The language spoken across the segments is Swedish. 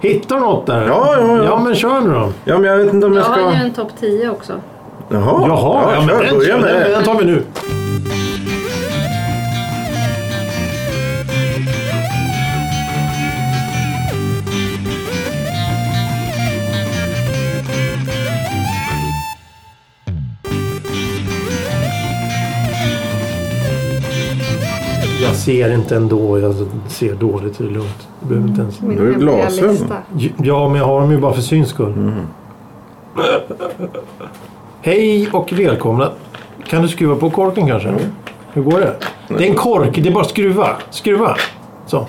Hittar du något där? Ja, ja, ja. Ja, men kör nu då. Ja, men jag vet inte om jag Jag ska... har ju Jaha, en topp 10 också. Jaha, ja, men kör, den, börja den, med det. den tar vi nu. Jag ser inte ändå. Jag ser dåligt. Det är lugnt. Du behöver inte ens... Min Du har ju hemliga glasögon. lista. Ja, men jag har dem ju bara för syns skull. Hej och välkomna. Kan du skruva på korken kanske? Hur går det? Det är en kork, det är bara att skruva. Skruva! Så.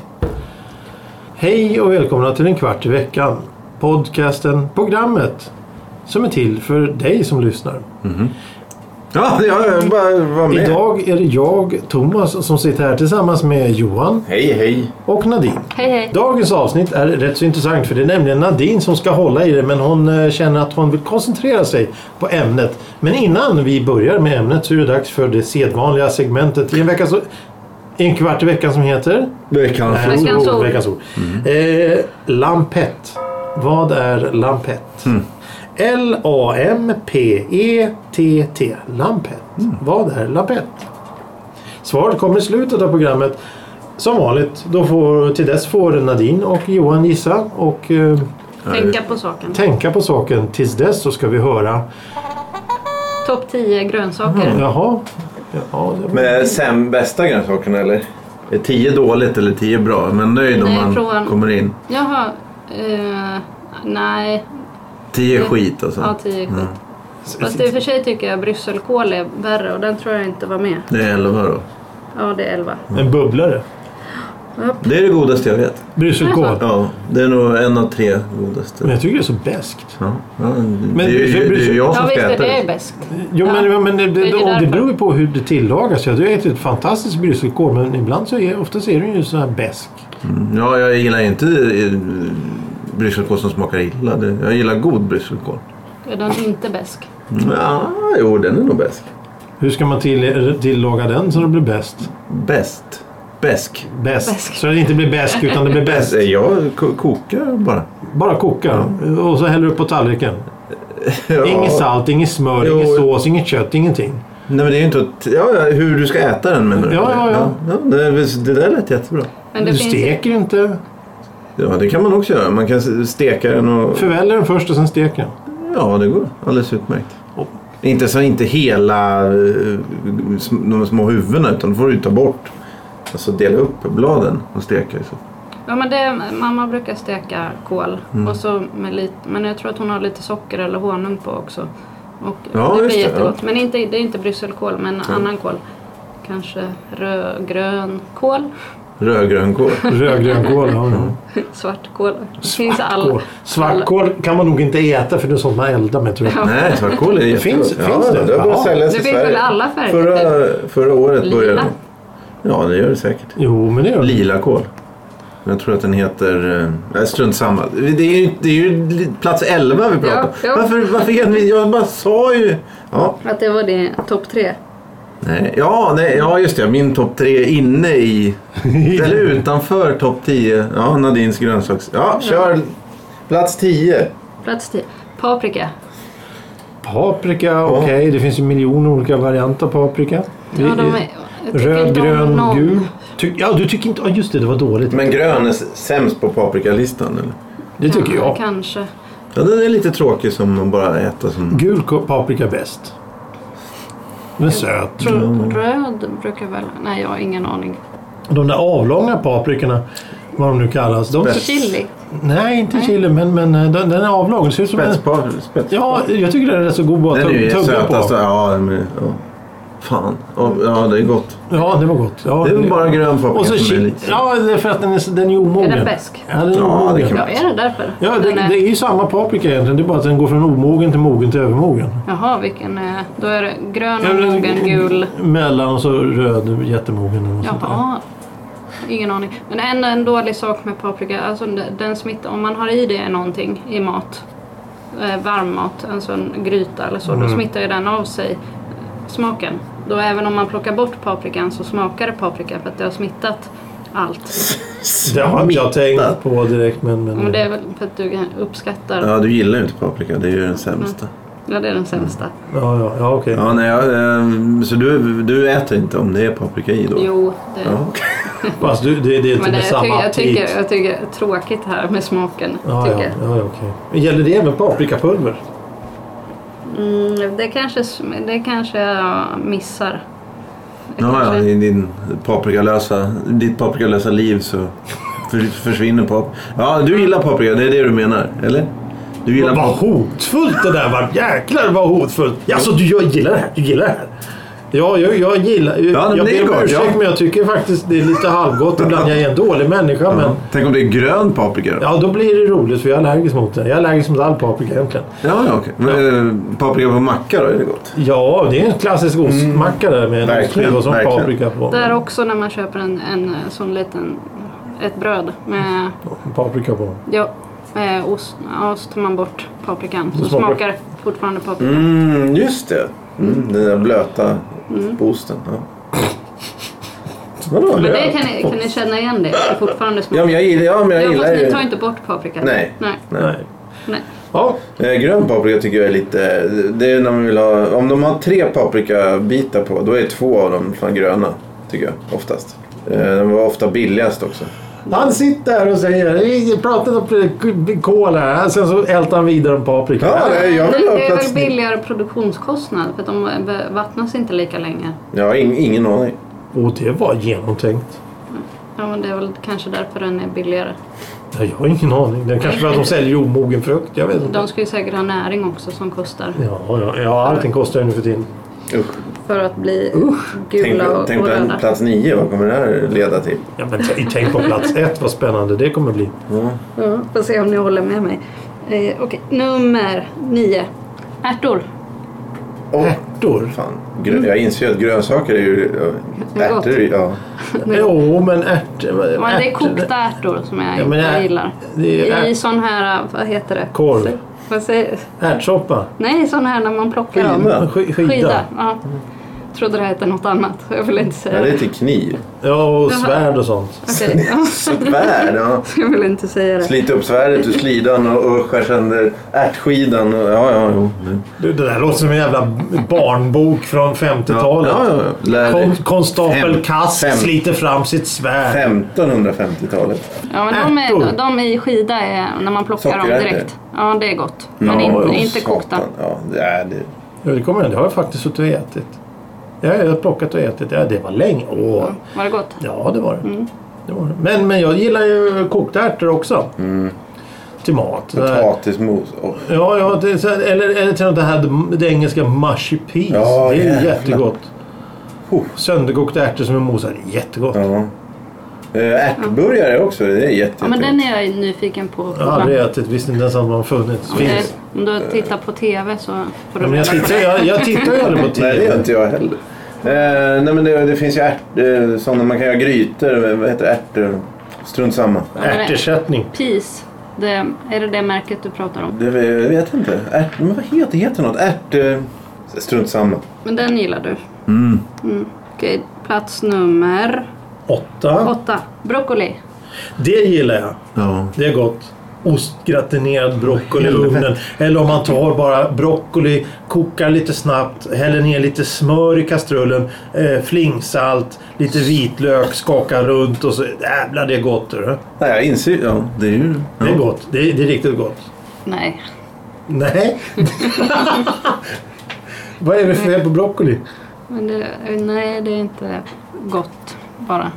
Hej och välkomna till en kvart i veckan. Podcasten, programmet. Som är till för dig som lyssnar. Ja, ja, jag bara var med. Idag är det jag, Thomas, som sitter här tillsammans med Johan Hej, hej. och Nadine. Hej hej. Dagens avsnitt är rätt så intressant för det är nämligen Nadine som ska hålla i det men hon eh, känner att hon vill koncentrera sig på ämnet. Men innan vi börjar med ämnet så är det dags för det sedvanliga segmentet i en, vecka så, i en kvart i veckan som heter Veckans Nej, Veckans ord, ord. veckans ord. oh, Eh, lampett. Vad är lampett? L-A-M-P-E-T-T. E Lampett. Vad är lampett? Svaret kommer i slutet av programmet. Som vanligt. Då får, till dess får Nadine och Johan gissa och eh, Tänka på saken. tänka på saken. Tills dess så ska vi höra. Topp 10 grönsaker. Jaha. Ja, det var... Med sen bästa grönsakerna eller? Är 10 dåligt eller 10 bra? Men nöjd om Nej, man frågan- kommer in. Jaha. eh, nej. 10 Det- skit alltså. Ja, 10 är skit. Fast i och för sig tycker jag brysselkål är värre och den tror jag inte var med. Det är 11 då. Ja, det är 11. En bubblare. Det är det godaste jag vet. Brysselkål. Ja, det är nog en av tre godaste. Men Ja, jag tycker det är så beskt. ja, det, är ju, det är ju jag Ja, som visst ska är äta det det. bäst. Jo, Ja. men, men det, det, Det är ju och det därför. beror ju på hur det tillagas. Jag har ju ätit fantastisk brysselkål men ibland så är, ofta är den ju så här besk. Mm, Ja, jag gillar inte eh, brysselkål som smakar illa. Det- Jag gillar god brysselkål. Är den inte bäsk? Ja, jo, den är nog bäst. Hur ska man till, tillaga den så det blir bäst? Bäst. Bäsk. Bäst. Bäsk. Så det inte blir bäsk utan det blir bäst. Bäst. Jag ko- kokar bara. Bara koka och så häller du upp på tallriken. Ja. Inget salt, inget smör, Jo. inget sås, inget kött, ingenting. Nej men det är ju inte att, ja, ja, hur du ska äta den menar du? Ja, ja, ja. det, det där lät jättebra. Men det du finns steker inte. Ja, det kan man också göra. Man kan s- steka den och... Förväller den först och sen steker den. Ja, det går alldeles utmärkt. Inte så inte hela eh, sm- de små huvudena utan då får du ta bort. Alltså dela upp bladen och steka. i Så. Ja, men det, mamma brukar steka kål. Mm. Och så med lite, men jag tror att hon har lite socker eller honung på också. Och Ja, det just blir det, jättegott. Men inte, det är inte brysselkål, men annan kål. Kanske rödgrön kål, Rödgrönkål. Rödgrönkål. Ja, ja. svartkål. Det finns all... Kål. Svartkål kan man nog inte äta för det är sånt man eldar med tror jag. Nej, svartkål är jättegott. finns- ja, finns det? Det har Ja. börjat säljas Det i finns väl Sverige. alla färger? typ. Förra, förra året Lila. började Ja, det gör det säkert. Jo, men det gör det. Lila kål. Jag tror att den heter... eh, Nej, strunt samma. Det är ju, det är ju li- plats 11 vi pratar om. Ja, ja. Varför, varför är ni... Jag bara sa ju... Ja, Att det var din topp tre. nej, ja, nej, ja just det. Min topp 3 är inne i... eller utanför topp 10. Ja, Nadines grönsaks... Ja, kör. Plats 10. Plats tio. Paprika. Paprika, okej. Det finns ju miljoner olika varianter av paprika. Ja, de är, jag tycker Röd, inte om grön, någon. gul. Ty, ja, du tycker inte... Ja, just det. Det var dåligt. Men grön är s- sämst på paprikalistan eller? det tycker Ja, jag. Kanske. Ja, den är lite tråkig som man bara äter som... Gul ko- paprika är bäst. Den är söt. Tror, Röd brukar väl... Nej, jag har ingen aning. De där avlånga paprikorna, vad de nu kallas. De, Spets. Chili. nej, inte chili, men, men eh, den, den är avlång. Det ser ut som en, Spetspaprika. Spets. Ja, jag tycker den är rätt så god bara Den är ju att tugga sötast. på. Ja, men, ja. Fan. Ja, Ja, det är gott. Ja, det var gott. Ja, Det är väl bara grön paprika Och så som är chili. lite- Ja, det är för att den är, så- den är omogen. Är den besk? Ja, den är Ja, det omogen. kan Ja, är det därför? Ja, det, Den är- det är ju samma paprika egentligen. Det är bara att den går från omogen till mogen till övermogen. Jaha, vilken är... Då är det grön, Ja, men- mogen, gul. Mellan och så röd, jättemogen. Och sånt där. Jaha. Ingen aning. Men en, en dålig sak med paprika, alltså den den smittar, om man har i det någonting i mat, eh, varm mat, alltså en gryta eller så, Mm. då smittar ju den av sig eh, smaken. Då även om man plockar bort paprikan så smakar det paprika för att det har smittat allt. Det har inte jag Smittad. tänkt på direkt men... men Men det är väl för att du uppskattar... Ja, Ja, du gillar ju inte paprika. Det är ju den sämsta. det är den sämsta. Ja, ja, ja okej. Ja, nej, jag, eh, så du, du äter inte om det är paprika i då? Jo, det... Ja, okej. Fast du, det, det är inte Men med det, jag, samma tycker, jag, aptit. tycker, jag tycker det är tråkigt här med smaken. Ja, ja, tycker jag. ja, ja, okej. Gäller det även paprikapulver? Mm, det, kanske, sm- det kanske jag missar. Det Ja, ja, kanske- i din paprikalösa, ditt paprikalösa liv så för, försvinner paprika. Ja, du gillar paprika. Det är det du menar, eller? Du gillar Vad paprika. hotfullt det där var! Jäklar vad hotfullt! Alltså du jag gillar det här, du gillar det här. Ja, jag, jag gillar... men jag det är ber om gott, ursäkt ja. men jag tycker faktiskt det är lite halvgott ibland. Jag är en dålig människa men... Tänk om det är grön paprika då? Ja, då blir det roligt för jag är allergisk mot det. Jag är allergisk mot all paprika egentligen. Ja, ja okej. Men, eh, Paprika på macka då, är det gott? Ja, det är en klassisk ostmacka där med en Mm. Verkligen, ostskiva som verkligen. paprika på. Där också när man köper en, en eh, sån liten... Ett bröd Mm. med, Paprika på. ja, med ost. Ja, så tar man bort paprikan. Så Det smakar. smakar fortfarande paprika. Mm, just det. Mm, den där blöta på osten. Ja. Vadå? Mm. Men det kan ni, kan ni känna igen det? Det fortfarande smakar. Ja, men jag gillar, ja, men jag Ja, gillar fast ni ju... tar inte bort paprikan? Nej. Nej. Nej. Nej. Ja, Eh, Grön paprika tycker jag är lite... Det är när man vill ha... Om de har tre paprikabitar på, då är två av dem fan gröna. Tycker jag, oftast. Eh, De var ofta billigast också. Han sitter här och säger "Vi pratar om kol här. Sen så ältar han vidare om paprika. Ja, det, jag Det vill ha det är väl plats... billigare produktionskostnad för att de eh, vattnas inte lika länge. Jag har ing- ingen aning. Och det var genomtänkt. Ja, men det är väl kanske därför den är billigare. Mm. Nej, jag har ingen aning. Det är kanske för att de säljer omogen frukt. Jag vet inte. De ska ju säkert ha näring också som kostar Ja, ja, ja allting kostar ju nu för tiden. Usch. för att bli Tänk, gula och, tänk och på en röda. plats nio, vad kommer det här leda till? Ja, men t- tänk på plats ett, vad spännande det kommer bli. Mm. Ja, får se om ni håller med mig. Eh, Okej, nummer nio. Ärtor. Åh, Ärtor? fan. Grö- jag inser ju att grönsaker är ju... Ärtor, är ju- ja. Jo, men ärtor... Men det är ärtor- kokta ärtor som jag Ja, men inte ä- gillar. det är- I sån här, eh, vad heter det? Korv. Vad säger, Ärtsoppa. nej, sån här när man plockar dem. Skina. Sk- skida. Skida. Ja. Trodde det hette något annat. Jag vill inte Ja, säga det det. är till kniv. Ja, och svärd och sånt. Okej. Svärd, ja. Jag vill inte säga det. Slita upp svärdet ur slidan och, och skär sönder ärtskidan. Och, ja, ja, jo. Du, det där låter som en jävla barnbok från 50-talet. Ja, ja, ja. Lär dig. Kon- konstapel Fem- Kask fem- sliter fram sitt svärd. 1550-talet. Ja, men de, Ärtor. är, de i skida är när man plockar dem Sockerärtor. direkt. Ja, det är gott. Men Ja, ja, inte, inte kokta. Satan. Ja, det är det. Ja, det kommer jag ihåg. Det har jag faktiskt suttit och ätit. Ja, jag har plockat och ätit. Ja, det var länge. Åh. Var det gott? Ja, det var det. det, var det. Men, men jag gillar ju kokta ärtor också. Mm. Till mat. Eh, Potatismos. Och, Ja, ja det, är så här- eller, eller till något det här det engelska mushy peas. Ja, det är jävlar. jättegott. Oh, sönderkokta ärtor som är mosade. Jättegott. ja. Eh, Ärtburgare också. Det är jätte, Ja, men den jättegott. är jag nyfiken på. att Jag har prova. aldrig ätit. Visste inte ens att man funnits. Eh, Finns. Om du tittar på TV så får du Men jag, reda på tittar, det. jag, jag tittar ju aldrig på Nej, det gör tv. inte jag heller. Eh, nej, men det, det finns ju ärt, eh, sådana man kan göra grytor. med- Vad heter det? Ärtor? Strunt samma. Ärtersättning. Peace. Det, är det det märket du pratar om? Det, jag vet inte. Ärt, men vad heter det? Heter något? Ärt... eh, Strunt samma. Men den gillar du? Mm. Okej, plats nummer Åtta. åtta. Broccoli. Det gillar jag. Ja. Det är gott. Ostgratinerad broccoli i Mm. ugnen. Eller om man tar bara broccoli, kokar lite snabbt, häller ner lite smör i kastrullen, eh, flingsalt, lite vitlök, skakar runt och så... Jävlar, det är gott. du. Nej, jag inser Ja, det är ju... Det är gott. Det är, det är riktigt gott. Nej. Nej. Vad är det för fel på broccoli? Men det, nej, det är inte gott bara.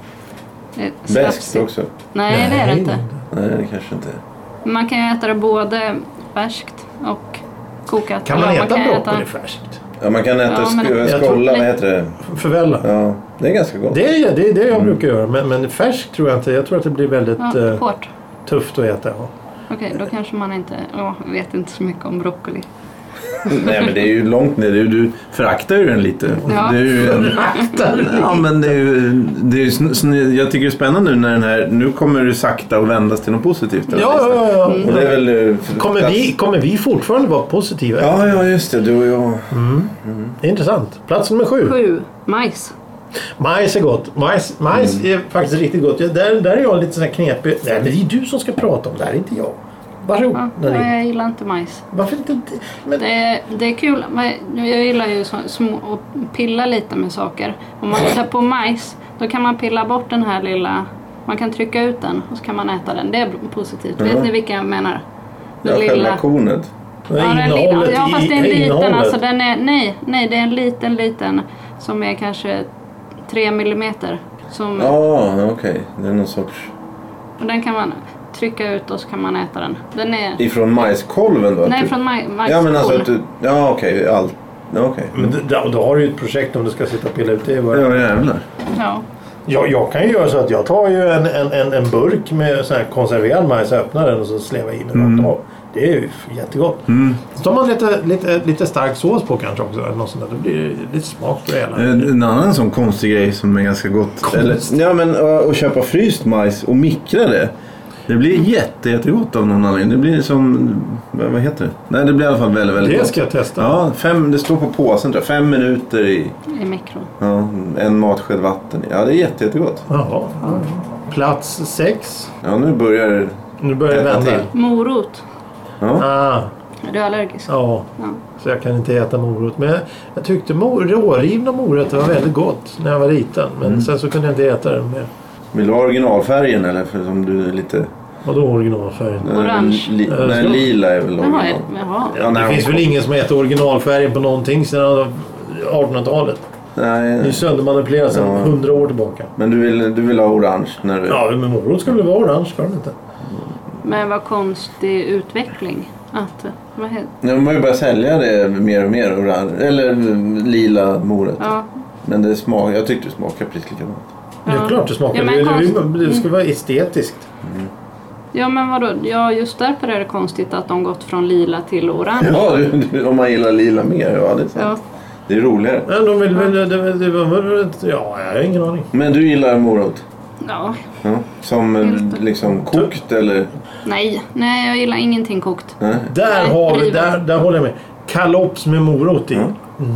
Det är Bäst slafsigt. också. Nej, det är det Nej. inte. Nej, det kanske inte är. Man kan ju äta det både färskt och kokat. Kan man Eller äta kan broccoli färskt? Ja, man kan äta Ja, men- sk- Jag tror- skolla, vad heter det? Förvälla? Ja, det är ganska gott. Det är det, är det jag brukar göra. Men, men färskt tror jag inte. Jag tror att det blir väldigt Ja, eh, hårt. tufft att äta. Ja. Okej, då kanske man inte... Jag vet inte så mycket om broccoli. Nej, men det är ju långt ner. Det är ju- Du föraktar ju den lite. Ja. Det är ju en... Ja, men det är ju... Det är ju sn- sn- jag tycker det är spännande nu när den här... Nu kommer det sakta att vändas till något positivt. Ja, ja, ja, ja. Och det är väl... eh, Kommer, plats- vi, kommer vi fortfarande vara positiva? Ja, ja, just det. Du och jag. Det är intressant. Plats nummer sju. Sju. Majs. Majs är gott. Majs, majs är faktiskt riktigt gott. Jag- Där, där är jag lite sån här knepig. Nej, men det är ju du som ska prata om det här, inte jag. Varsågod. Ja, Nadine. nej, jag gillar inte majs. Varför inte... det? Men, Det är, det är kul. men Jag gillar ju så, små, att pilla lite med saker. Om man tar på majs, då kan man pilla bort den här lilla... Man kan trycka ut den och så kan man äta den. Det är positivt. Vet Ja. ni vilka jag menar? Den Ja, lilla- själva kornet. men Ja, den innehållet lilla. Ja, i- fast det är en liten. innehållet. Alltså, den är, nej, nej, det är en liten, liten som är kanske 3 millimeter. Som, Ja, okej. Det är någon sorts... och den kan man trycka ut och så kan man äta den. Den är... Ifrån majskolven då? nej, Typ. från maj, Ja, men alltså majskorn. att du... Ja, okej. Allt. Ja, okej. Men d- då, då har du ju ett projekt om du ska sitta och pilla ut det. i varje- Ja, jävlar. Ja. Jag, jag kan ju göra så att jag tar ju en, en, en, en burk med sån här konserverad majs och öppnar den och så slevar jag i den Mm. rakt av. Det är ju jättegott. Så tar man lite, lite, lite stark sås på kanske också. Eller något sånt där. Då blir det lite smak på det hela. En en annan sån konstig grej som är ganska gott. Konstigt. ja, men ö, att köpa fryst majs och mikra det. Det blir jätte, jättegott av någon anledning. Det blir som... Vad vad heter det? Nej, det blir i alla fall väldigt, väldigt Det gott. ska jag testa. Ja, fem, det står på påsen tror jag. Fem minuter i I mikron. ja, en matsked vatten. Ja, det är jätte, jättegott. Jaha. Plats sex. Ja, nu börjar... Nu börjar det Äta vända. till. Morot. Ja. Ah, Är du allergisk? ja. Ja. Så jag kan inte äta morot. Men jag, jag tyckte mor- rårivna morötter var väldigt gott när jag var liten. Men Mm. sen så kunde jag inte äta det mer. Vill du ha originalfärgen eller? För som du är lite... Vadå originalfärgen? Orange. Li, Eh, nej, så. lila är väl Jaha, original. är- jaha. Ja, när det de finns kom. väl ingen som äter originalfärgen på någonting sedan 1800-talet. Det är ju Nej, söndermanipulerat sedan Ja. 100 år tillbaka. men du vill, du vill ha orange när du... Ja, men morot skulle vara orange, ska den inte? Men vad konstig utveckling. Att, vad heter, Nu har man ju börjat sälja det mer och mer. Orange, eller mm, lila morötter. ja. Men det smak, jag tyckte det smakade precis likadant. Det är Ja. klart det smakar. Ja, men det, det, konst- Mm. det ska vara estetiskt. ja, men vadå? Ja, just därför är det konstigt att de gått från lila till orange. Ja, du, du, om man gillar lila mer. Ja, det är sant. Ja. Det är roligare. Men de vill väl... Det, det, det, det, ja, jag har ingen aning. Men du gillar morot? ja. Ja. Som eh, Helt rätt. liksom kokt eller? Nej, nej, jag gillar ingenting kokt. Nej. Där, Nej, har vi, riven. där, där håller jag med. Kalops med morot i. Mm.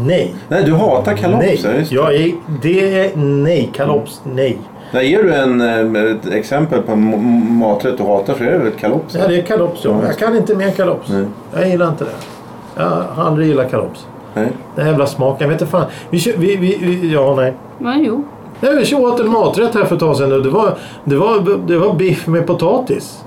Nej. nej, du hatar kalopser. nej. just det. Jag är, det är nej. Kalops, nej. Där ger du en, eh, ett exempel på en m- maträtt du hatar så är det väl kalops? Ja, det är kalops, ja. Ja. Jag kan inte mer kalops. Nej. Jag gillar inte det. Jag har aldrig gillat kalops. Nej. Den jävla smaken. Jag vet inte fan. Vi, kö- vi, vi, vi, ja, nej. Ja, jo. Nej, vi åt en maträtt här för ett tag sedan och det var, det var, det var biff med potatis.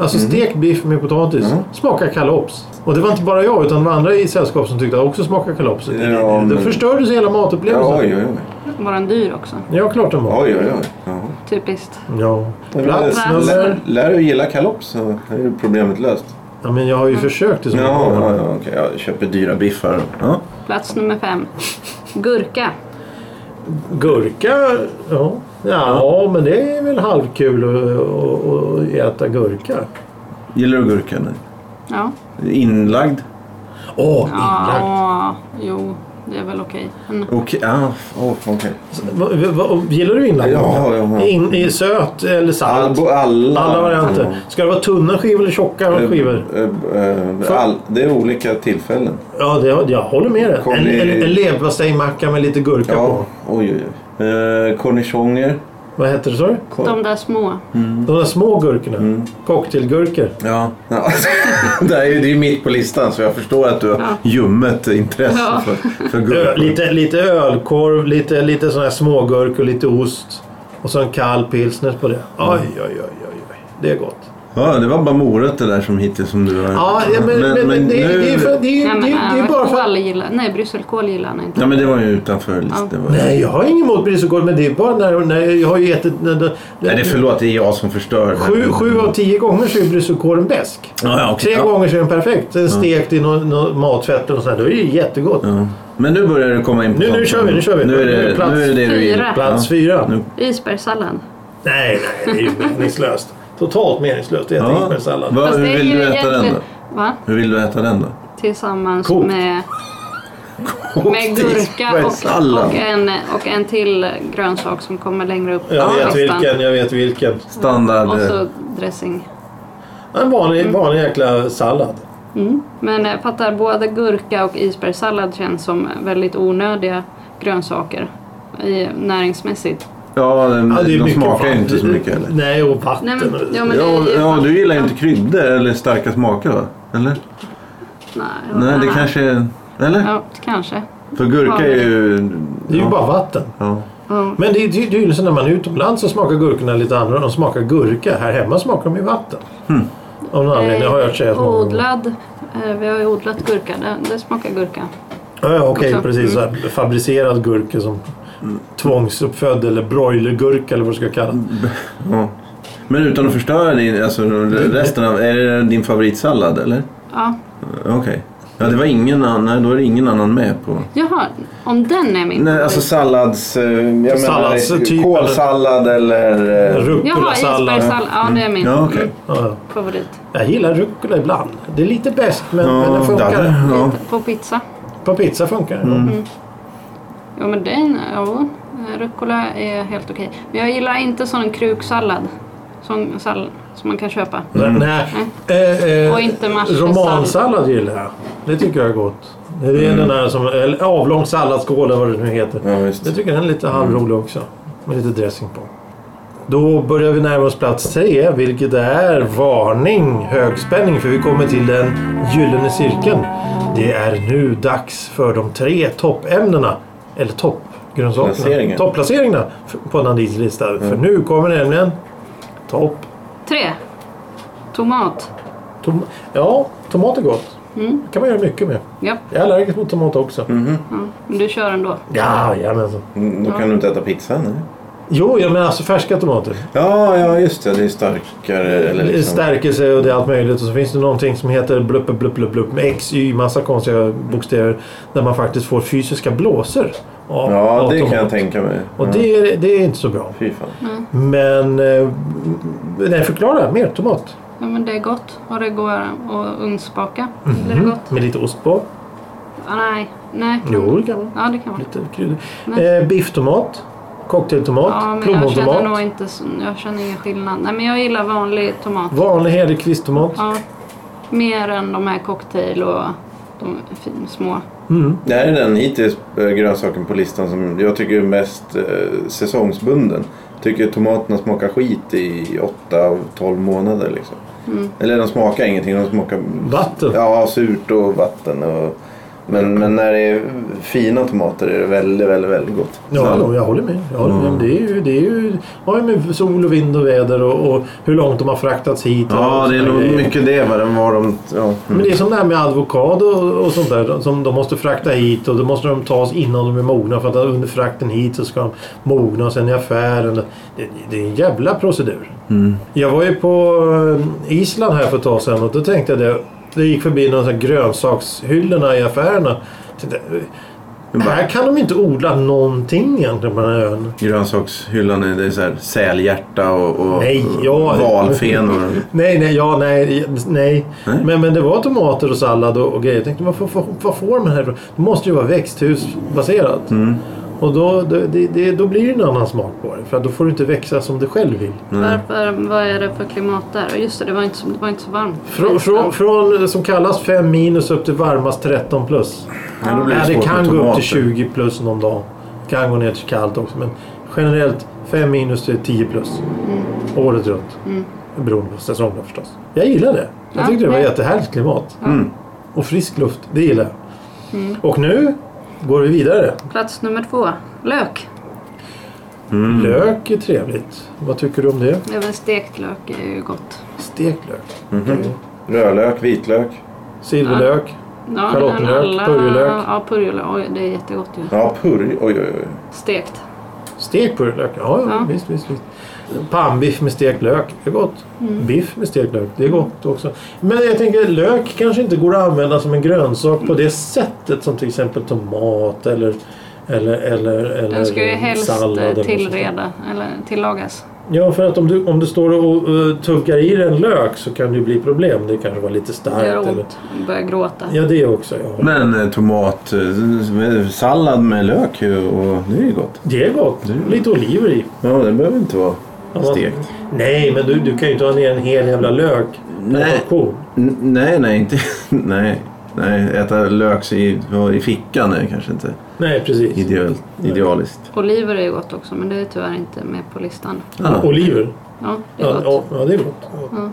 Alltså Mhm. stekt biff med potatis. Mm. Smakar kalops. Och det var inte bara jag utan det var andra i sällskap som tyckte att det också smakade kalops. Det, Ja, det men- förstördes hela matupplevelsen. Ja, oj, oj, oj. Var den dyr också? Ja, klart den var. oj, oj, oj. Jaha. Typiskt. Ja. Plats Lär- nummer... lär- Lär du gilla kalops så är ju problemet löst. Ja, men jag har ju försökt i så Ja, många ja, år. ja, okej. Jag köper dyra biffar. Ja. Plats nummer fem. Gurka. Gurka... Ja. ja, men det är väl halvkul att- att att äta gurka. Gillar du gurka? Nej. Ja. Inlagd? Åh, inlagd. ja jo, det är väl okej. Men Okej. Ah, oh, okej. Va- va- va- Gillar du inlagd? Ja, ja, ja. In, i söt eller salt? Albo, alla. Alla varianter. Ska det vara tunna skivor eller tjocka Ja. skivor? Eh, eh, För- all, det är olika tillfällen. Ja, det, jag håller med dig. Kom En, i- en, en leverpastejmacka med lite gurka Ja, på. oj, oj, oj. Eh, Cornichoner. Vad heter det sa du? de där små. De där små gurkorna. Mm. Cocktailgurkor. Ja. ja. det, här är, ju- det är mitt på listan så jag förstår att du har Ja. ljummet intresse Ja. för, för Ö, gurkor. lite, lite ölkorv, lite, lite sådana här smågurkor, lite ost. Och så en kall pilsner på det. Oj, oj, oj, oj, oj. Det är gott. Ja, det var bara morötter där som hittills som du har... Ja, ja, men, men, men, det, nu- det är för, det, är- Nej, men, det, är- det är bara för att... kål gillar, nej, brysselkål gillar han inte. Ja, men det var ju utanför listan. Ja. Det var... Nej, Nej, jag har inget emot brysselkorv, men det är bara när, när jag har ju ätit... När, när, det är förlåt. Det är jag som förstör. sju, sju av tio gånger så är brysselkorven bäsk. Ja, ja, okej. Tre Ja. gånger så är den perfekt. Sen stekt i någon, någon matfett och sådär. Det är ju jättegott. Ja. Men nu börjar du komma in på Nu- nu sånt. kör vi, nu kör vi. Nu är det, Plats nu är det, det du fyra. gillar. Plats fyra. Nu- Isbergssallad. Nej, nej, det är ju meningslöst. Totalt meningslöst. Jag Ja. äter isbergssallad. Vad- Fast hur det är vill ju du äta den då? egentligen- Va? Hur vill du äta den då? Tillsammans Kokt. med, med Kokt gurka och, isbergssallad. och, en, och en till grönsak som kommer längre upp Jag på vet listan. vilken, jag vet vilken. Standard. Och eh, så dressing. En vanlig, vanlig jäkla sallad. Mm. Men jag fattar, både gurka och isbergssallad känns som väldigt onödiga grönsaker. i, näringsmässigt. Ja, den, Ja, det är de mycket smakar ju inte så vatten. mycket heller. Nej, och vatten. Nej, men, ja, och- men det Ja, är ju ja, fan- du gillar ju inte kryddor eller starka smaker va? Eller? Nej, Nej, det kanske är... Eller? Ja, kanske. För gurka är ju... Det är ju ja. bara vatten. Ja. Ja. Men det är det är ju så när man är utomlands så smakar gurkorna lite annorlunda. De smakar gurka. Här hemma smakar de ju vatten. Av någon anledning har jag hört sägas många gånger. Odlad. eh, Vi har ju odlat gurka. Det, det smakar gurka. Ja, ja, okej, Också. precis. Så här, fabricerad gurka som tvångsuppfödd eller broilergurka eller vad du ska kalla det. ja. Men utan att förstöra din, alltså, resten av... Är det din favoritsallad eller? Ja. Okej. Ja, det var ingen annan... Då är det ingen annan med på... Jaha, om den är min Nej, alltså sallads... eh, Jag Sallads, menar, eh, typ, kålsallad eller... eh, Jaha, Rucola-sallad. isbergssallad. Ja, det är min Mm. Ja, okej. Ja, favorit. jag gillar rucola ibland. Det är lite bäst men, men Ja, den funkar. dadder, ja. På pizza. På pizza funkar den. Jo, men den... Ja, rucola är helt okej. Men jag gillar inte sån kruksallad. Sån sall som man kan köpa. Men, Nej. Eh, eh, Mm. Och inte mashdessallad. romansallad gillar jag. Det tycker jag är gott. Det är den där som, eller avlång salladsskål eller vad det nu heter. Ja, visst. Jag tycker den är lite halvrolig också. Med lite dressing på. Då börjar vi närma oss plats tre, vilket är varning, högspänning, för vi kommer till den gyllene cirkeln. Det är nu dags för de tre toppämnena, eller toppgrönsakerna. Placeringar. Topplaceringarna f- på Nandins lista. För nu kommer nämligen topp... Tre. Tomat. Tom, ja, tomat är gott. Det kan man göra mycket med. Ja, Jag är allergisk mot tomat också. men du kör ändå. Ja, jajamensan. Mm, Då kan du inte äta pizza, nej. Jo, jag menar alltså färska tomater. Ja, ja, just det. Det är starkare. Eller liksom. Stärkelse och det är allt möjligt. Och så finns det någonting som heter blupp, blupp, blupp, blupp med X, Y, massa konstiga bokstäver. Där man faktiskt får fysiska blåsor. Av, Ja, av det kan jag tomat. tänka mig. Mm. Och det, är, det är inte så bra. Fy fan. Men... eh, Nej, förklara. Mer tomat. Ja, men det är gott och det går att ugnsbaka. Det Mhm. är gott. Med lite ost på. Ah, nej, nej. Jo, det kan man. Ja, det kan man. Lite kryddor. Eh, bifftomat. Cocktailtomat. Ja, men jag känner nog plommontomat. inte så, jag känner ingen skillnad. Nej, men jag gillar vanlig tomat. Vanlig hederlig kvisttomat. Ja, mer än de här cocktail och de fin, små. Det här är den hittills eh, grönsaken på listan som jag tycker är mest eh, säsongsbunden. Tycker tomaterna smakar skit i 8 av 12 månader liksom. Eller de smakar ingenting, de smakar Vatten. ja, surt och vatten. Och, men, men när det är fina tomater är det väldigt, väldigt, väldigt gott. Ja, Så- hallå, jag håller med. Jag håller med. Mm. Det, är ju, det, är ju, har ju med sol och vind och väder och, och hur långt de har fraktats hit. och ja, det är såna nog grejer. mycket det. Vad de, vad de, ja. Mm. Men det är som det här med avokado och, och sånt där som de måste frakta hit och då måste de tas innan de är mogna för att under frakten hit så ska de mogna och sen i affären. Det, det är en jävla procedur. Jag var ju på eh, Island här för ett tag sedan och då tänkte jag det. Det gick förbi någon sån här grönsakshyllorna i affärerna. Tänkte, här kan de inte odla någonting egentligen på den här ön. Grönsakshyllan är, det är så här, sälhjärta och, och Nej, ja. valfenor. Nej, nej, ja, nej, nej. Nej. Men, men det var tomater och sallad och, och grejer. Jag tänkte, vad, vad, vad får man här ifrån? Det måste ju vara växthusbaserat. Och då, då, det, det, då blir det en annan smak på det. För att då får du inte växa som du själv vill. Mm. Varför, vad är det för klimat där? Och Just det, det var inte så, det var inte så varmt. Från, från, från som kallas 5 minus upp till varmast 13 plus. Ja, då blir Nej, det svårt kan gå med upp tomater. till 20 plus någon dag. Det kan gå ner till kallt också. Men generellt 5 minus till 10 plus. Mm. Året runt. Beroende på säsongen förstås. Jag gillar det. Jag Ja, tyckte det var ja. Mm. jättehärligt klimat. Och frisk luft. Det gillar jag. Och nu går vi vidare. Plats nummer två, lök. Mm. Lök är trevligt. Vad tycker du om det? Även stekt lök är ju gott. Stekt lök. Rödlök, vitlök. Silverlök. Ja, Schalottenlök, men alla- purjolök. Ja, purjolök. Oj, det är jättegott ju. Ja, purj. Oj, oj, oj. Stekt. Stek på lök? Ja, ja, Ja. visst, visst, visst. Pannbiff med stekt lök, det är gott. Mm. Biff med stekt lök, det är gott också. Men jag tänker lök kanske inte går att använda som en grönsak på det sättet som till exempel tomat eller eller, eller, eller Den ska ju helst eh, sallad eller sånt tillreda, eller tillagas. där. Ja, för att om du, om du står och eh, tuggar i dig en lök så kan det ju bli problem. Det kanske var lite starkt. Det gör eller... ont. Börjar gråta. Ja, det också. Ja. Men eh, tomat, eh, sallad med lök ju, och det är ju gott. Det är gott. Lite oliver i. Ja, det behöver inte vara stekt. Nej, men du, du kan ju inte ha ner en hel jävla lök. Nej. Cool. N- nej, nej, inte. nej. Nej, äta lök i, i fickan är kanske inte Nej, precis. ideal, idealiskt. Oliver är ju gott också men det är tyvärr inte med på listan. Ah, Oliver. Ja, det är Ja, gott. ja, ja, det är gott. Ja.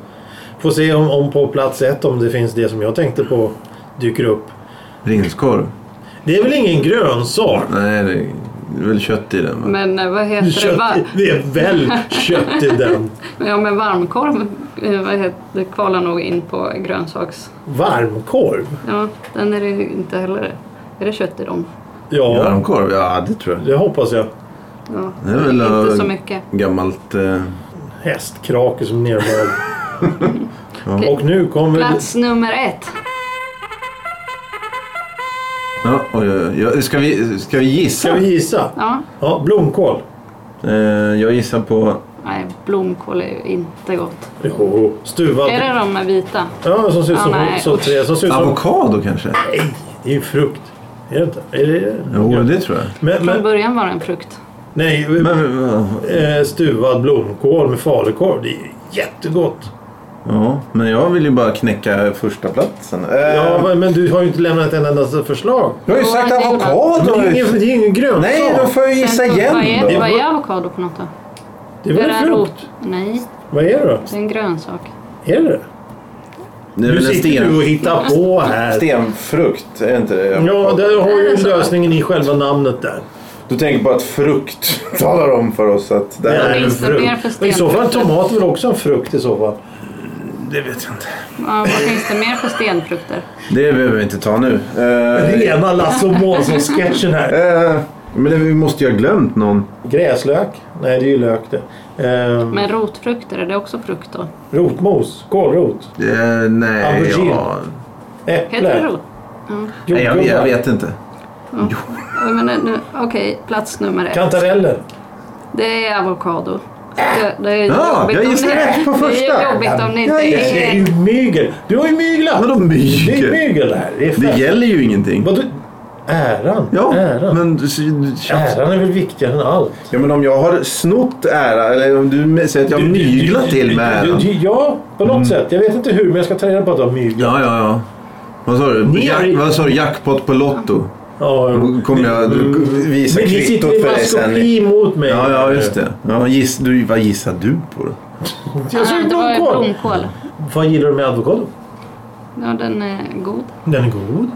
Får se om, om på plats ett om det finns det som jag tänkte på dyker upp. prinskorv. Det är väl ingen grönsak? Nej, det är väl kött i den va? Men eh, vad heter det? Kött, Va- det är väl kött i den. ja, men varmkorv eh, vad heter, det kvalar nog in på grönsaks... Varmkorv? Ja, den är det ju inte heller. Är det kött i dem? Ja, Varmkorv? Ja, det tror jag. det hoppas jag. Ja, Det är väl, inte eh, så mycket. Gammalt... Eh, Hästkrake som nermal. Ja. Och nu kommer... Plats nummer ett. ja, oj, oj, oj. Ska, vi, ska vi gissa? Ska vi gissa? Ja, Ja, blomkål. Eh, jag gissar på... nej, blomkål är ju inte gott. Jo. Stuvad. Är det de med vita? Ja, som ser ut Ja, som, nej, som, usch. tre, som, ser ut som Avokado kanske? Det är ju frukt. Är det inte? Är det... Jo, det tror jag. Men, Från men, början var det en frukt. nej, Men, eh, eh, stuvad blomkål med falukorv. Det är ju jättegott. ja, men jag vill ju bara knäcka första platsen. Eh, Ja, men- men du har ju inte lämnat ett enda förslag. Jag har ju sagt avokado! Men Det är ingen, det är ingen grönsak. Nej, då får jag ju gissa Sen så, igen vad, är, vad då. är avokado på något då? Det är väl det en frukt? rot? Nej, Vad är det då? det är en grönsak. Är det det? Det är Nu väl en sitter du sten, och hittar på här. stenfrukt, är inte det? Ja, där har ju lösningen i själva namnet där. Du tänker på att frukt talar om för oss att det här... Nej. finns det mer för Men I så fall stenfrukter? tomat är väl också en frukt i så fall. Det vet jag inte. Ja, vad finns det mer för stenfrukter? Det behöver vi inte ta nu. Eh, Rena Lasse och Månsson-sketchen här. eh, men det, vi måste ju ha glömt någon. Gräslök? Nej, det är ju lök det. Ehm, Men rotfrukter, är det också frukt då? Rotmos? Kålrot? Eh, nej, Aubergine. ja. Heter det Äpple? rot? Ja. nej jag, vet- jag vet inte. Ja, men nu- Okej, plats nummer ett. Kantareller? Det är avokado. Det, det är Ja, jobbigt jag om gissade ni- rätt på Det första. är jobbigt om ni Ja, inte jag Det är ju är... mygel! Du har ju myglat! Vadå Det är mygel? mygel här. Det är Det fest. gäller ju ingenting. Vadå? Äran? Ja, Äran? men... du- du- tjafs. Äran är väl viktigare än allt? Ja, men om jag har snott ära, eller om du säger att jag har myglat till med Du- äran. Mm. du- Ja, på något sätt. Jag vet inte hur, men jag ska ta reda på att du har myglat. Ja, ja, ja. Vad sa du? Ni har- Jack, vad sa du? Jackpot på Lotto? Ja, ja. Då kommer jag visa Men ni sitter kvittot i för dig sen. maskopi mot mig. Ja, ja, just det. Ja, giss, du, vad gissar du på då? Jag sa Nej, ju det var ju blomkål. blomkål. Vad gillar du med avokado? Ja, den är god. Den är god.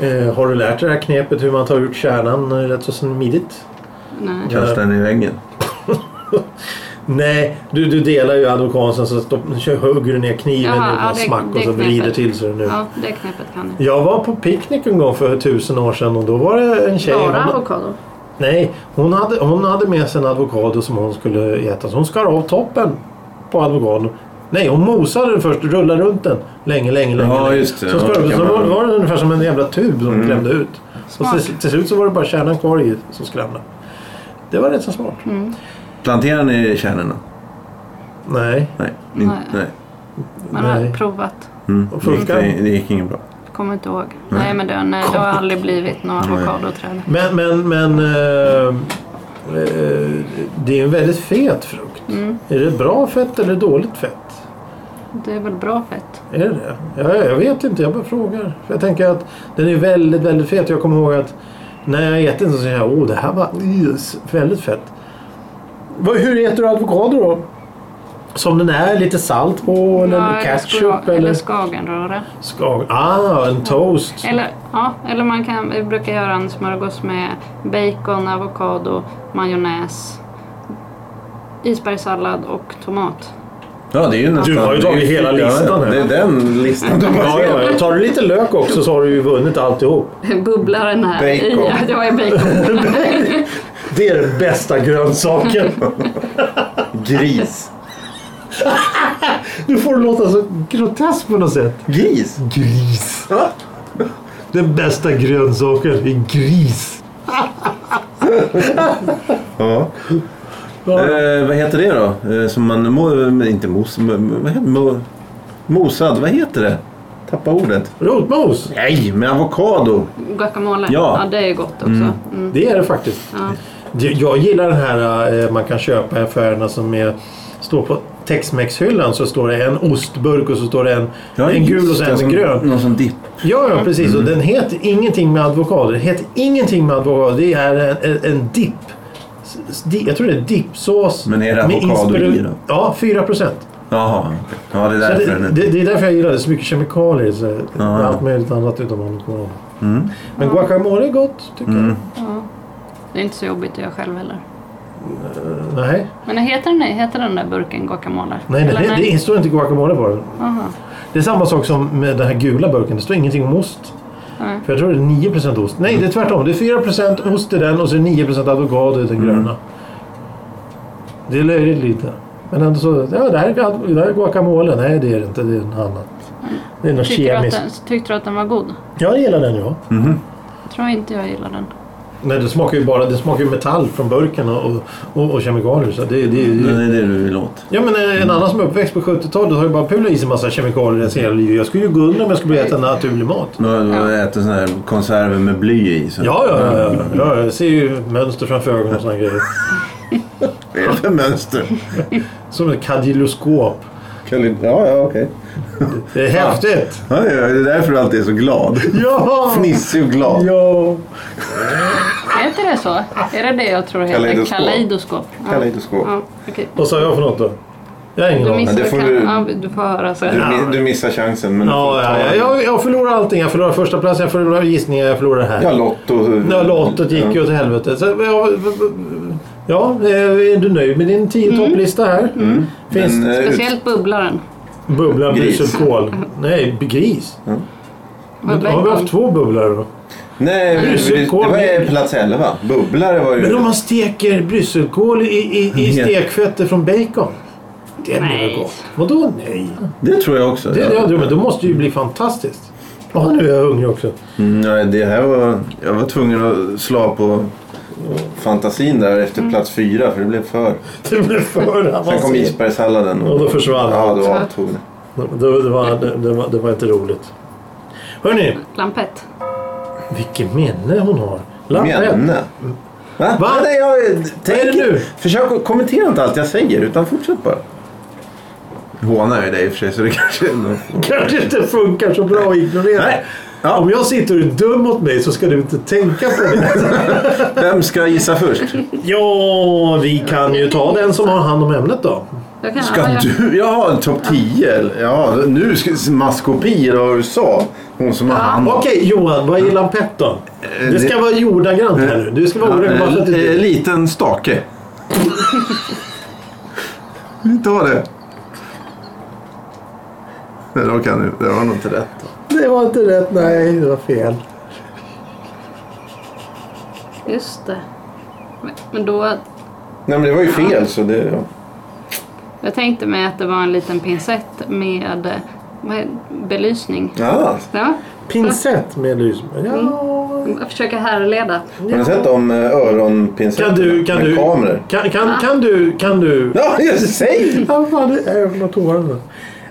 Ja. Eh, har du lärt dig det här knepet hur man tar ut kärnan eh, rätt så smidigt? Nej. Kasta den i väggen. Nej, du, du delar ju advokaten så stopp, kör, hugger du ner kniven Jaha, i ja, ja, det- smack det och så knepet. vrider till så det nu. Ja, det knepet kan ni. Jag var på picknick en gång för tusen år sedan och då var det en tjej. Bara Hon, avokado. nej, hon hade, hon hade med sig en avokado som hon skulle äta. Så hon skar av toppen på avokadon. Nej, hon mosade den först och rullade runt den länge, länge, länge. Ja, länge. just det. Så, skar, Ja, Mm. det så kan var, man- var den ungefär som en jävla tub som hon klämde ut. Och Smart. till, till slut så var det bara kärnan kvar i som skramlade. Det var rätt så smart. Planterar ni kärnorna? Nej, Nej. in- Nej. nej. Man har Nej. provat. Mm. Och Det, gick, funkar? det gick inget bra. Kommer inte ihåg. Nej, men det, nej, det har aldrig blivit några avokadoträd. Men, men, men eh, eh, det är en väldigt fet frukt. Mm. Är det bra fett eller dåligt fett? Det är väl bra fett? Är det det? Ja, jag vet inte, jag bara frågar. För jag tänker att den är väldigt, väldigt fet. Jag kommer ihåg att när jag äter den så säger jag åh det här var yes, väldigt fett. Vad- Hur äter du avokado då? Som den är, lite salt på eller Ja, ketchup skog- eller, eller eller skagenröra. skag... Ah, en toast. Eller, ja, eller man kan, vi brukar göra en smörgås med bacon, avokado, majonnäs, isbergssallad och tomat. Ja, det är ju nästan... Du har ju tagit hela listan Ja, här. det är den listan du Ja, har. ja, ja. Tar du lite lök också så har du ju vunnit alltihop. Bubblar den här i? Bacon. Ja, det var ju bacon. Det är den bästa grönsaken. Gris. Du får det låta så grotesk på något sätt. Gris? Gris. Den bästa grönsaken är gris. Ja. Ja. Eh, vad heter det då? Eh, som man... Mo, inte mos... Mo, vad heter, mo, mosad. Vad heter det? Tappa ordet. Rotmos. Nej, med avokado. Guacamole. Ja. det är ju gott också. Mm. Det är det faktiskt. Ja. Det- Jag gillar den här eh, man kan köpa i affärerna som är står på Tex-Mex-hyllan så står det en ostburk och så står det en, Ja, en gul och just så det, en som- Mm. grön. Någon som dipp. Ja, ja precis. Och den heter ingenting med advokater. Det heter ingenting med advokater. Det är en, en, en dipp. S- s- di- Jag tror det är dippsås. Men är det med avokado i inspiru- då? Ja, 4 procent. Jaha. Ja, det är Så därför den det, är... det, det är därför jag gillar det. Så mycket kemikalier. Så Ja. Allt möjligt annat utom amerikaner. Men guacamole är gott tycker Mm. Ja. Det är inte så jobbigt att göra själv heller. jag. Nej, Men heter den, heter den där burken guacamole? nej, Eller nej, det, det står inte guacamole på den. Aha. Det är samma sak som med den här gula burken. Det står ingenting om ost. Nej. För jag tror det är 9% ost. Nej, det är tvärtom. Det är 4% ost i den och så är det 9% avokado i den Mm. gröna. Det är löjligt lite. Men ändå så... Ja, det här är, gal- det här är guacamole. Nej, det är det inte. Det är en annan. Det är något Tyckte, du att kemiskt. den, tyckte du att den var god? Jag gillar den ja. Jag tror inte jag gillar den. Nej, det smakar ju bara det smakar ju metall från burken och, och, och, och kemikalier. Så det, det, Ja, det, det är det du vill åt. Ja, men eh, en annan som är uppväxt på 70-talet har ju bara pulat i sig en massa kemikalier i hela livet. Jag skulle ju gå under om jag skulle börja äta naturlig mat. Du har du har ätit såna här konserver med bly i. Så. Ja, ja, ja, ja, ja. Jag ser ju mönster framför ögonen och sådana grejer. Vad är det för mönster? Som ett kadiloskop. Kalli- Ja, ja, okej. Det är häftigt! Ja, ja, det är därför du alltid är så glad. Ja! Fnissig och glad. Ja! Heter det så? Är det det jag tror det heter? Kaleidoskop. Kaleidoskop. Ja. Kaleidoskop. Ja, okej. Vad sa jag för något då? Jag har ingen Du aning. missade det får kan- du- Ja, du får höra sen. Du, mi- du missar chansen. Men Ja, ja, ja, jag, jag förlorar allting. Jag förlorar första platsen, jag förlorar gissningar, jag förlorar det här. Ja, Lotto. Ja, lottet gick ju åt helvete. Så, ja, ja, eh, är du nöjd med din tio topplista här? Finns Den, Mm. eh, Speciellt bubblaren. bubblan, Gris. bus och kol? Nej, gris. Men, har vi haft två bubblor då? Nej, vi- vi- det Brysselkål. var ju plats 11. Bubblare var ju... Men om man steker brysselkål i, i, i Mm. Ja. stekfettet från bacon? Det blir väl Nej. gott? Vadå nej? Det tror jag också. Det, ja. ja. det, men det måste ju bli fantastiskt. Ja, nu är jag hungrig också. Mm, nej, det här var... Jag var tvungen att slå på... fantasin där efter plats fyra för det blev för. Det blev för Sen kom avancerat. isbergssalladen. Och då försvann Ja, allt. då avtog det. Det, det, var, det, det, var, det var inte roligt. Hörni, Lampett. vilket minne hon har. Lampett. Menne. Va? Va? Nej, jag tänker... det nu? Försök att kommentera inte allt jag säger utan fortsätt bara. Hånar ju dig i och för sig så det kanske... är något- Kanske inte funkar så bra att ignorera. Nej. Om jag sitter och är dum mot mig så ska du inte tänka på det. Vem ska gissa först? ja, vi kan ju ta den som har hand om ämnet då. Jag kan, Ska ja, jag- du? Jaha, topp 10? eller? Ja, nu ska- maskopier av USA. Hon som har hand om... Okej Johan, vad är lampett då? Det ska vara jordagrant här nu. Du ska vara Ja, ordagrant. bara för att eh, du- Liten stake. Vi tar det. Nej, då kan du. Det var nog inte rätt. Det var inte rätt. Nej, det var fel. Just det. Men- Men då... Nej men det var ju fel så det... Ja. Jag tänkte mig att det var en liten pincett med eh, vad är, belysning. Ja. Ja. Pinsett med lys. Ja. Jag försöker härleda. Har ni sett om eh, öronpincetterna? Kan du... Kan med du kameror? kan, kan, kan du... Kan du... Ja, just säg! Ja, fan, det är jag något ovanligt.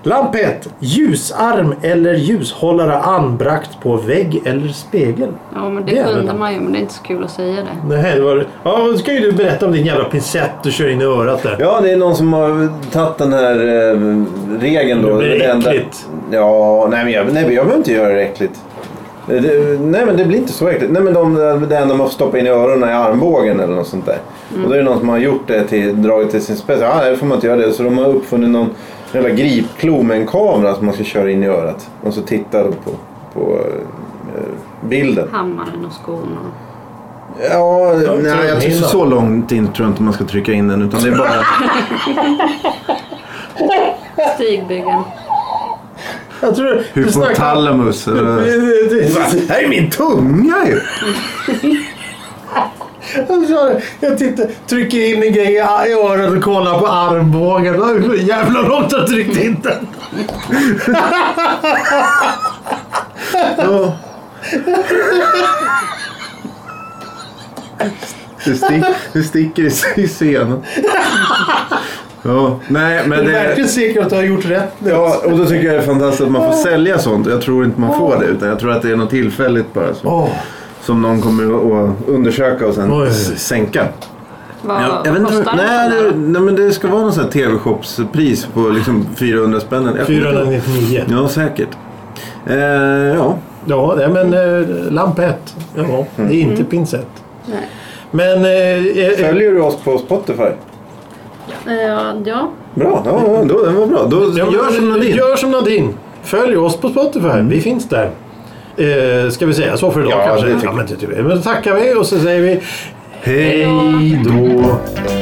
Lampett. Ljusarm eller ljushållare anbrakt på vägg eller spegel. Ja, men Det det är kunde väl- man ju, men det är inte så kul att säga det. Nej, det var... Ja, då ska ju du berätta om din jävla pinsett du kör in i örat där. Ja, det är någon som har tagit den här eh, regeln då. Det blir Det enda- äckligt. Ja, nej men, jag, nej men jag behöver inte göra det äckligt. Eh, Det, nej men det blir inte så äckligt. Nej men de, det enda man får stoppa in i öronen är armbågen eller något sånt där. Och då är det någon som har gjort det till, dragit till sin spets. Ja, nej, det får man inte göra det. Så de har uppfunnit någon jävla gripklo med en kamera som man ska köra in i örat. Och så tittar de på, på eh, bilden. Hammaren och skon och... Ja, tror nej, jag jag- Så, så långt in tror jag inte man ska trycka in den. Utan det är bara... Stigbygeln. Jag tror... du snackar- Hypotalamus. eller- Det- det- det- Va? Här är min tunga ju! Jag kör- Jag tittar, trycker in en grej i i örat och kollar på armbågen. Oj, Hur jävla långt har jag tryckt in den? Ja. Du, stick, du sticker i, i scenen. Ja, nej, men Är du det, verkligen säker att du har gjort rätt nu? ja, och då tycker jag det är fantastiskt att man får sälja sånt. Jag tror inte man får det. Utan jag tror att det är något tillfälligt bara. Som, Åh, som någon kommer att- att undersöka och sen Oj. s- sänka. Vad, Jag, jag vet vad inte, kostar nej, den det, där? nej, men det ska vara någon sån här TV-shopspris på liksom 400 spänn. Jag kommer inte ihåg. 499. Ja, säkert. Eh, ja. Ja, nej, men eh, lampett. Ja, det är inte pinsett. Nej. Men... Eh, eh, Följer du oss på Spotify? Eh, ja, Bra, ja, ja, då, den var bra. Då, Ja, men- gör som Nadine. eh, Gör som Nadine. Följ oss på Spotify. Vi finns där. Eh, ska vi säga så för idag Ja, kanske? det tycker ja, men, det tycker vi. men då tackar vi och så säger vi Hej då. hej då.